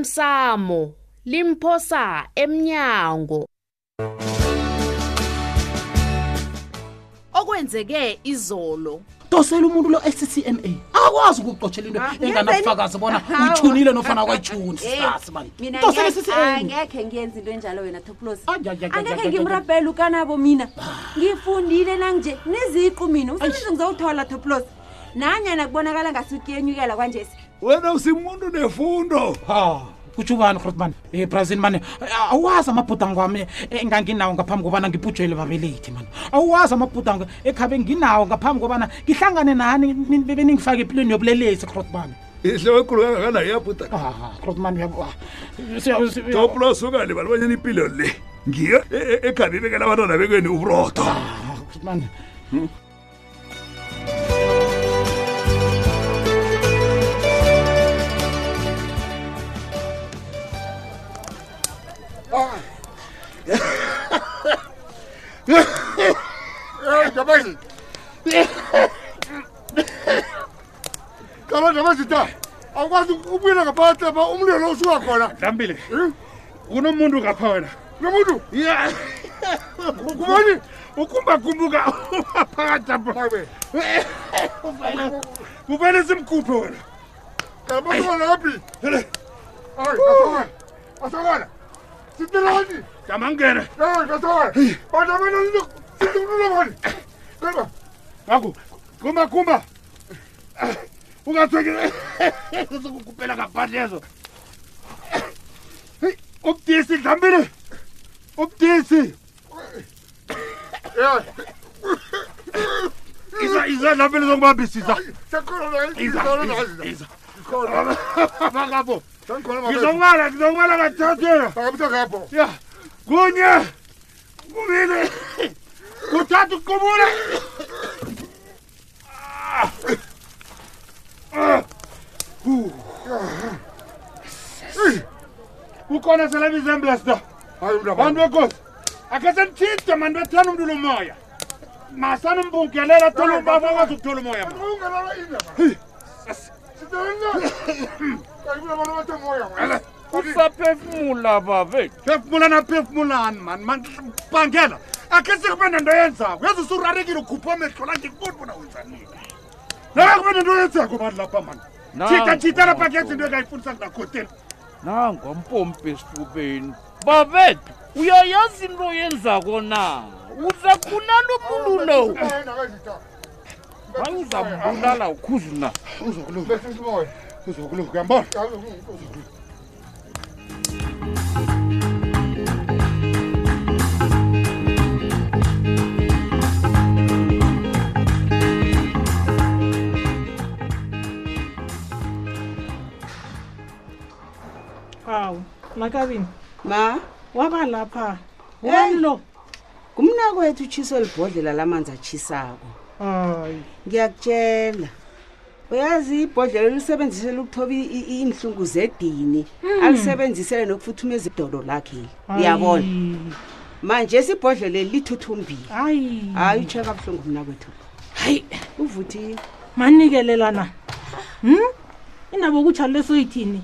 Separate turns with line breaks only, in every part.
osemsamo limphosa emnyango okwenzeke izolo
tosela umuntu lo SCMA akwazi ukucotshela into enganabufakazi bona uyithunile nofana kwayithuni sasi mani
Ah, Eh, mina
tosela
ngeke-
SCMA
angekhe ngiyenza into enjalo wena toplos
Ay, ay, ay, ay, ay,
angekhe
ay,
ngimrabhele ukanabo mina
Ah.
ngifundile nanje niziqu mina umsebenzi ngizowuthola toplos nanyana kubonakala ngasuthi yenyukela kwanjesi
wena usimuntu nefundo
ha kutsho ubani grotman um brazil mani awazi amabhudango wami enganginawo ngaphambi kobana ngibhujwele babelethi mani awazi amabhudango ekhabe nginawo ngaphambi kobana ngihlangane nani ni- beningifake empilweni yobulelesi grotman
ihloko ekhulu kangakana iyabhuda
Ah, grotman
toplos ungalibali banyana impilo le ngiyo e- e- ekhambe ibekela abantwana bekweni uburodo
Ah, grotman
jabazi kaba jabazi ta awukwazi ubuyela ngaphakathi lapha umlilo lo usuka khona Hm?
dlambile kunomuntu ngapha wena
nomuntu
Ya. kubani ukumbakumbuka phakathi lapho
mabe
kubele simkhuphe wena
kalabasokana kaphi kasokana kasokana sitelani
jamangena
kasokana bantu abanalulobani kaba
ngaku kumba kumba ungathekizokukupela ngaphandle ezo Hey, ubudisi dlambile ubudisi iza iza dlambile zokubambisisa
sekhona
bangapho ngizokubala ngizokubala kathathela
akabusakapho
ya kunye kubili kuthathu kuqubula ukhona selabizembesta
hayi mntu
bantu bekhosi akhe senithinte mani bethana umntu lomoya masani mbungelela thola ubaba akwazi ukuthola umoya ma
usaphefumula babe
phefumulana phefumulani mani mandibangela akhe sekube nento yenzako yeza usurakile ukhupha amehlola ndikuboni bona wenzanika na kube nento yenzako mani lapha mani
Nangu
tshita tshita lapha ke
uMaNtuli.
zinto engayifundisa kunakoteni
nangompompi esifubeni babethu uyayazi into oyenzako na uzakhulala umuntu lo angizambulala ukhuzi na
uzokuluka uyambona
hawu makabini
ma
waba lapha ubani lo
ngumna kwethu utshiso libhodlela lamanzi atshisako
hayi
ngiyakutshela uyazi ibhodlela lisebenzisele ukuthoba i- i- iinhlungu zedini
Hmm.
alisebenzisele nokufuthumeza idolo lakhe uyabona manje sibhodlele lithuthumbili
hayi
hayi utshe kabuhlungu mna kwethu
Hmm. hayi
uvuthiwe
manikelelana hm indaba okutsha lesoyithini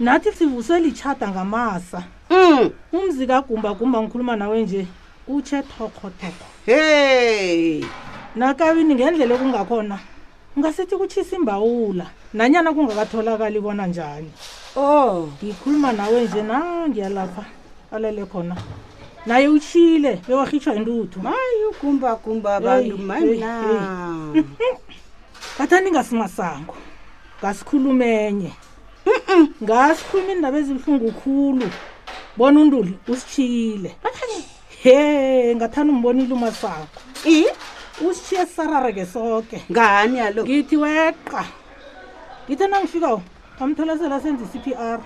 nathi sivuselitshata ngamasa
um
umzi kagumbagumba ngikhuluma nawe nje utshe thokothoko
hey
nakabini ngendlela okungakhona ungasithi kutshisa imbawula nanyana kungakatholakali bona njani
o
ngikhuluma nawe nje nangiyalapha alele khona naye utshile bewahitshwa intuthu
mayi ugumbagumba abantu
Hey, hey,
mana
ngathanda ingasimasango ngasikhuluma enye ngasikhuluma indaba ezibuhlungu khulu bona untuli usitshiyile he ngathanda umbonile umasango
i
usitshiye sarareke soke
ngani yalo
ngithi weqa ngithe nangifikayo ngamtholasela senza i-c p r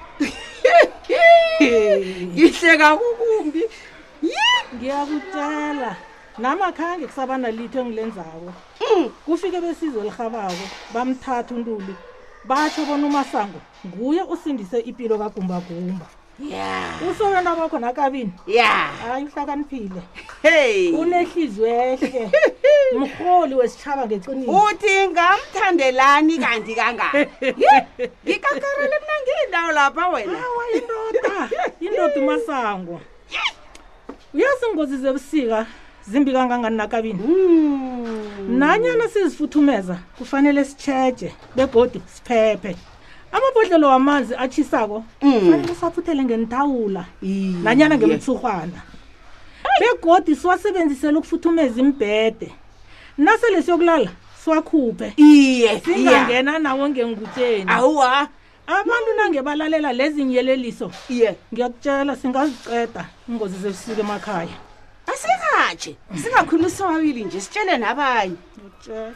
ngihleka kukumbi
ngiyakutshela namakhange kusabana litho engilenzako
Mm.
kufike besizo elihabako bamthatha untuli batsho bona umasango nguye osindise impilo kagumbagumba
ya
usokana bakho nakabini
ya
hayi uhlakaniphile
hey
unehliziyo ehle mrholi wesitshaba ngeqiniso
uthi ngamthandelani kanti
Eh,
kangani ngikakarele mna ngiindawo lapha wena
awa indoda indoda umasango uyazi iingozi zebusika zimbi kangangani nakabini
Hmm.
nanyana sizifuthumeza kufanele sitshetshe begodi siphephe amabhodlelo wamanzi atshisako
Hmm.
kufanele siwafuthele ngentawula nanyana ngemtsurhwana begodi siwasebenzisele ukufuthumeza imbhede nasele siyokulala siwakhuphe
iye iya.
singangena nawo ngengutsheni
awuwa
Hmm.
abantu nangebalalela lezi nyeleliso
iye
ngiyakutshela singaziceda ingozi zebusika emakhaya
asikatshe singakhulumi sobabili nje sitshele nabanye
ngiyakutshela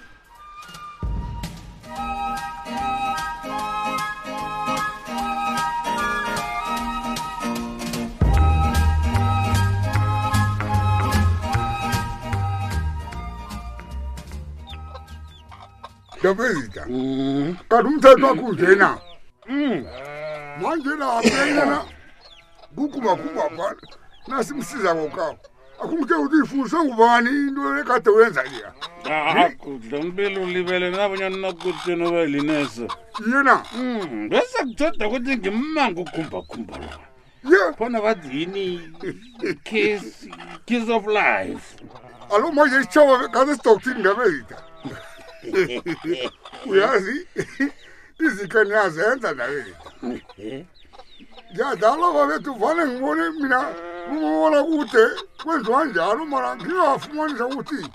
ndabezita kanti umthetho wakho unje na Hmm. manje naapeyana kukubakuba phana nasimsiza kokawo akumke uthi ifundiswe ngubani into ekade uyenza iya
Ah, akudla umpilo ulibelela nabanyana nakutsheni obayilinese
iye na
Hmm, bese kutheda ukuthi ngimmange ukhumbakhumba la
ye
khona bathi yini kiss kiss of life
alo manje isitshaba kade sidoktini ndabezita uyazi izikhe niyazenza ndabezita ngiyadala babethu vane ngibone mina kumabona kude kwenziwa njalo mara ngingafumanisa ukuthi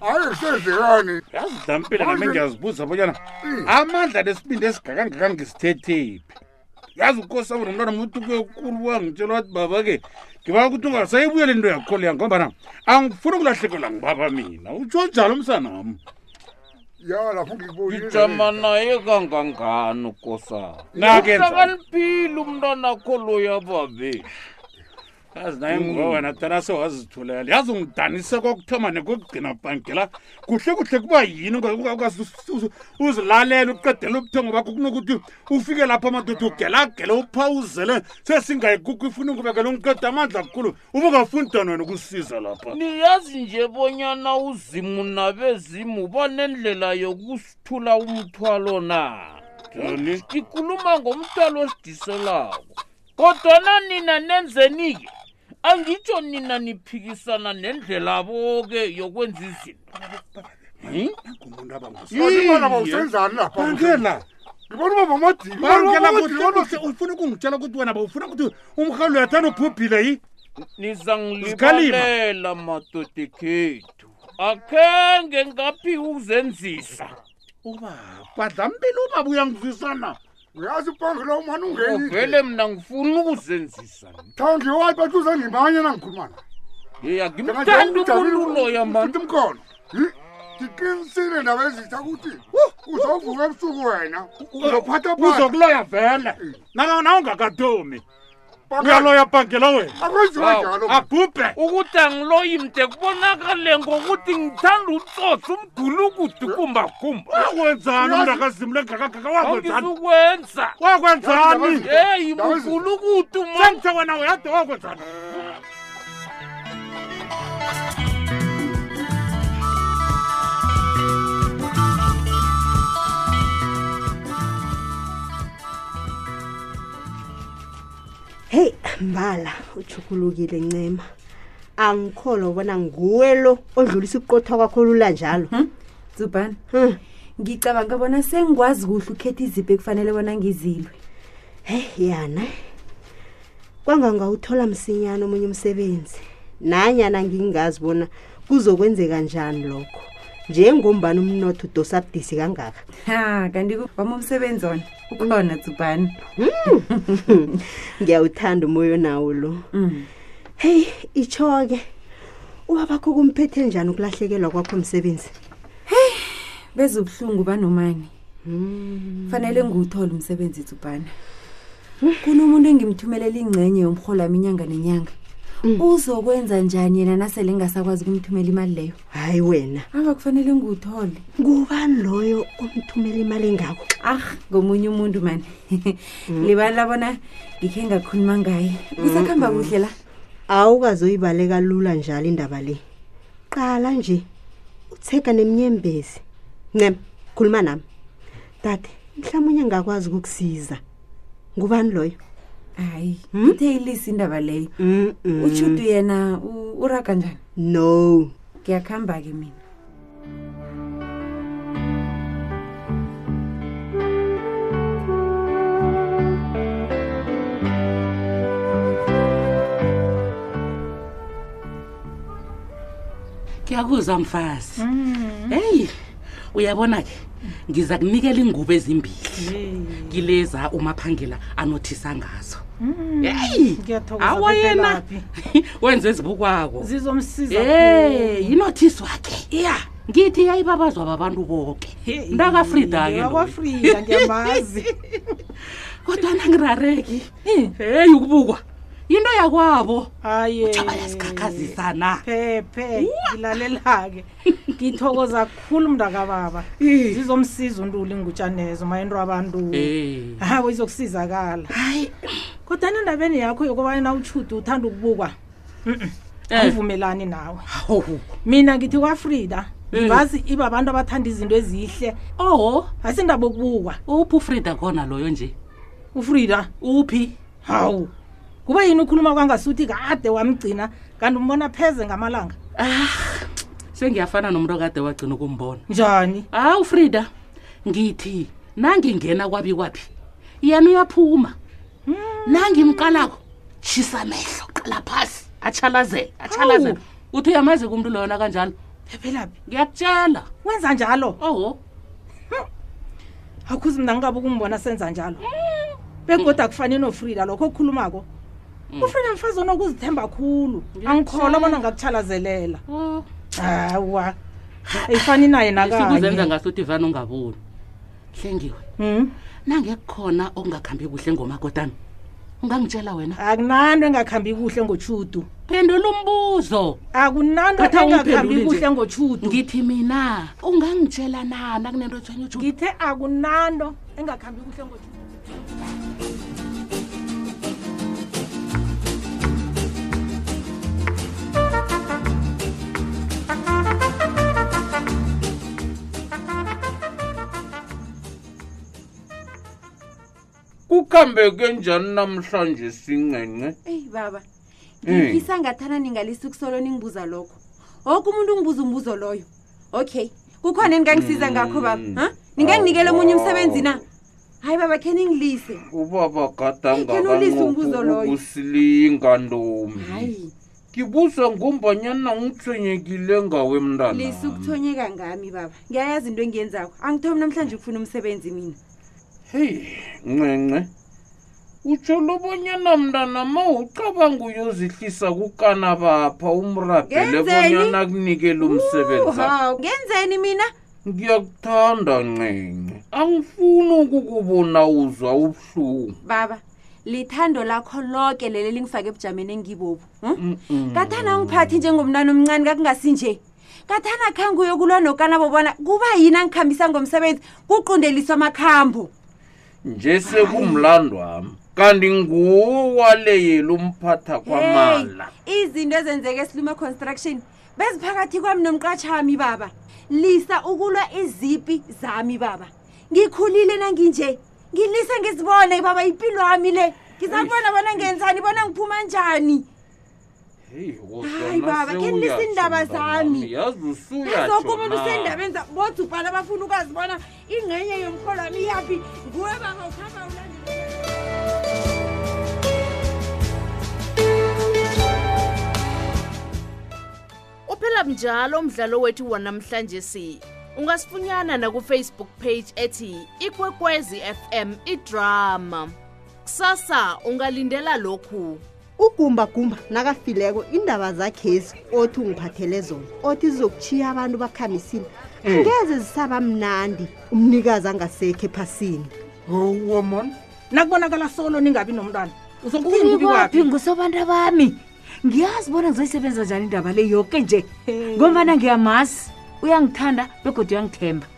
hayi kusenzekani
yazi dampile nami
Manje-
ngiyazibuza abanyana
Mm.
amandla lesibindi esigakangaka ngisithethephi yazi ukosi abona umntwana muthi kekulu wangitshela wathi baba-ke ngibaa ukuthi ungasayibuyeli into yakholeya ngombana angifuni ukulahlekelwa ngibaba mina utsho njalo umsanami
ya lapho ngikubonile
ngijama naye kangangani ukosana
Nakenza.
uhlakaniphile umntanakho loya babe yazi naye ngoba wena tana sewazithulela yazi ungidanise kokuthoma nekokugcina bhangela kuhle kuhle kuba yini ungazi uzilalela uqedela ubuthongo bakho kunokuthi ufike lapho amadoda ugelagele uphawuzele sesingayigugu ifuna ukubekela umqeda amandla kkhulu ube ungafuni mntwana wena ukusiza lapha
niyazi nje bonyana uzimu nabezimu banendlela yokusithula umthwalo na
joni
ngikhuluma ngomthwalo osidiselako kodwana nina nenzeni-ke angitsho nina niphikisana nendlela boke yokwenza izinto
ngumuntu
Ah, Yimana bawusenzani lapha?
abangela
Ngibona ubaba madini.
bangela kuhle ufuna ukungitshela ukuthi wena bawufuna ukuthi umhalo yathana ubhubhile yi
niza
Zikhalima.
ngilibalela madodekhethu akhenge ngaphi ukuzenzisa
badla mpilo ubaba uyangizwisana
Uyazi ubangela umani
Oh,
ungeni.
vele mna ngifuna ukuzenzisa
Thangi wathi bathi uzangimanye nangikhulumana.
yeyangimthanda umuntu loya mani
mkhona ndiqinisile ndaba ezitha ukuthi uzovuka ebusuku wena uzophatha
uzokuloya vele nawungakatomi uyaloya bhangela wena
akwenziwa njalo
ah,
abhubhe
ukuthi angiloyi mde kubonakale ngokuthi ngithanda utsotsa umgulukudu kumbakumba
wakwenzani umntu akazimle gakagaka wakwenzani
angizukwenza
wakwenzani
yeyi mgulukudu mani
sengithe wena uyade wakwenzani
heyi mbala ujukulukile ncema angikholwa ubona nguwe lo odlulisa ukuqothwa kwakho lula njalo
zubhana
Hmm.
ngicabanga bona sengikwazi kuhle ukhetha izipho ekufanele bona ngizilwe
heyi yana kwangangawuthola msinyana omunye umsebenzi nanyana ngingazi bona kuzokwenzeka njani lokho njengombani umnotho udosa budisi kangaka
ha kanti ku- wami umsebenzi wona ukhona zubhana
ngiyawuthanda umoya nawo lo
Mm.
heyi itsho-ke ubabakho kumphethe njani ukulahlekelwa kwakho msebenzi
beze ubuhlungu banomani fanele ngiwuthole umsebenzi zubhana kunomuntu engimthumelela ingcenye yomrholo wami inyanga nenyanga uzokwenza njani yena nasele ngasakwazi ukumthumela imali leyo
hayi wena
ava kufanele nguthole
ngubani loyo omthumela imali engako
ah ngomunye umuntu mani libala bona ngikhe ngakhuluma ngaye kusakuhamba kuhle la
awukazoyibaleka lula njalo indaba le qala nje utheka nemnyembezi ncema khuluma nami dade mhlawumunye ngakwazi ukukusiza ngubani loyo
hayi ithe ilisi indaba leyo utshudu yena u- uraga njani
no
ngiyakuhamba ke mina
kuyakuzwa mfazi heyi uyabona-ke ngiza kunikela ingubo ezimbili ngileza umaphangela anothisa ngazo heyi awa yena
ngiyathokozaawayenaphi
wenze ezibukwako
zizomsiza
e yinothisi wakhe iya ngithi yayibabazwa babantu boke ntakafrida
akwafrida ngiyamazi
kodwa nangirareki heyi ukubukwa yinto yakwabo
haye
jaba yasikhakhazisa na
phephe ngilalela-ke ngithokoza kukhulu mntakababa
Eh.
zizomsiza untuli ngutshanezo mayento abantu
Eh.
hawe izokusizakala
hayi
kodwa nendabeni yakho yokubana utshudu uthanda ukubukwa mm-mm,
Eh.
angivumelani nawe
oho
mina ngithi kwafrida
Eh.
ngibazi iba abantu abathanda izinto ezihle
oho
asindaba okubukwa
uphi ufrida khona loyo nje
ufrida
uphi
hawu kuba yini ukhuluma kwangasuthi kade wamgcina kanti umbona pheze ngamalanga
ah sengiyafana nomuntu okade wagcina ukumbona
njani
hawu frida ngithi nangingena kwabi kwaphi yena uyaphuma nangimqalako tshisa amehlo qala phasi atshalazele atshalazele uthi uyamazi kumntu loyona kanjalo
phephelaphi
ngiyakutshela
wenza njalo
oho
akhuze mna ngingabe ukumbona senza njalo begoda akufani nofrida lokho okukhulumako
Mm.
ufrida mfazi onokuzithemba khulu angikholwa bona ngakutshalazelela
Oh,
hawa ayifani naye
sukuzenza
nakanye
ngasuthi vane ungaboni hlengiwe
Mm.
nangekukhona okungakhambi kuhle ngomakotami ungangitshela wena
akunanto engakhambi kuhle ngotshudu
phendula umbuzo
akunanto
Thatha
engakhambi
ungiphendule nje.
kuhle ngotshudu
ngithi mina ungangitshela na nakunento ethwenye ujuda
ngithe akunanto engakhambi kuhle ngotshudu
kukhambeke njani namhlanje singcence
eyi baba
Eh.
ngisangathana ningalisi ukusolo ningibuza lokho woke umuntu ungibuza umbuzo loyo okay kukhona eningangisiza ngakho baba ha ninganginikela omunye umsebenzi na hayi baba khe ningilise
ubaba
Hey, khena ulise umbuzo loyo.
gadangaukusilinga ntombi
hayi
ngibuza ngombanyana ngithwenyekile ngawe mntana
lise ukuthonyeka ngami baba ngiyayazi into engiyenzakho angithomi namhlanje ukufuna umsebenzi mina
heyi ncence utsho lobonyana mntana ma ucabanga uyozihlisa kukana bapha umrabhele
Ngenzeni?
bonyana kunikela umsebenzi
Hawu, ngenzeni mina
ngiyakuthanda ncence angifuni ukukubona uzwa ubuhlungu
baba lithando lakho lonke leli lingifake ebujameni engibobu hm? kathana ungiphathi njengomntana omncane kakungasinje kathana khange uyokulwa nokanabo bona kuba yini angikhambisa ngomsebenzi kuqundeliswa amakhambo
nje sekumlando wami kanti nguwo waleyela umphatha kwamala
Hey, izinto ezenzeka esilume construction beziphakathi kwami nomqatshami baba lisa ukulwa izipi zami baba ngikhulile nanginje ngilise ngizibone baba impilo yami le ngizakubona bona ngenzani bona ngiphuma njani
Hey,
Hayi, baba, khe nilise iindaba zami.
yazi usuyatsho
nazoke umuntu
na.
usendabeni za- bothi ubhala bafuna ukwazi bona ingxenye yomholo wami iyaphi nguwe baba ukhamba ulandela
uphela njalo umdlalo wethu wanamhlanje si ungasifunyana na ku Facebook page ethi ikwekwezi fm idrama kusasa ungalindela lokhu
ugumbagumba nakafileko indaba zakhezi othi ungiphathele zona othi zizokuchiya abantu bakhamisile angeze zisaba mnandi umnikazi angasekho ephasini
Hawu, man
nakubonakala solo ningabi nomntwana uzokuphimbi kwaphi
ngusobantu bami
ngiyazi bona ngizoyisebenza njani indaba le yoke nje ngombana ngiyamazi uyangithanda begodwa uyangithemba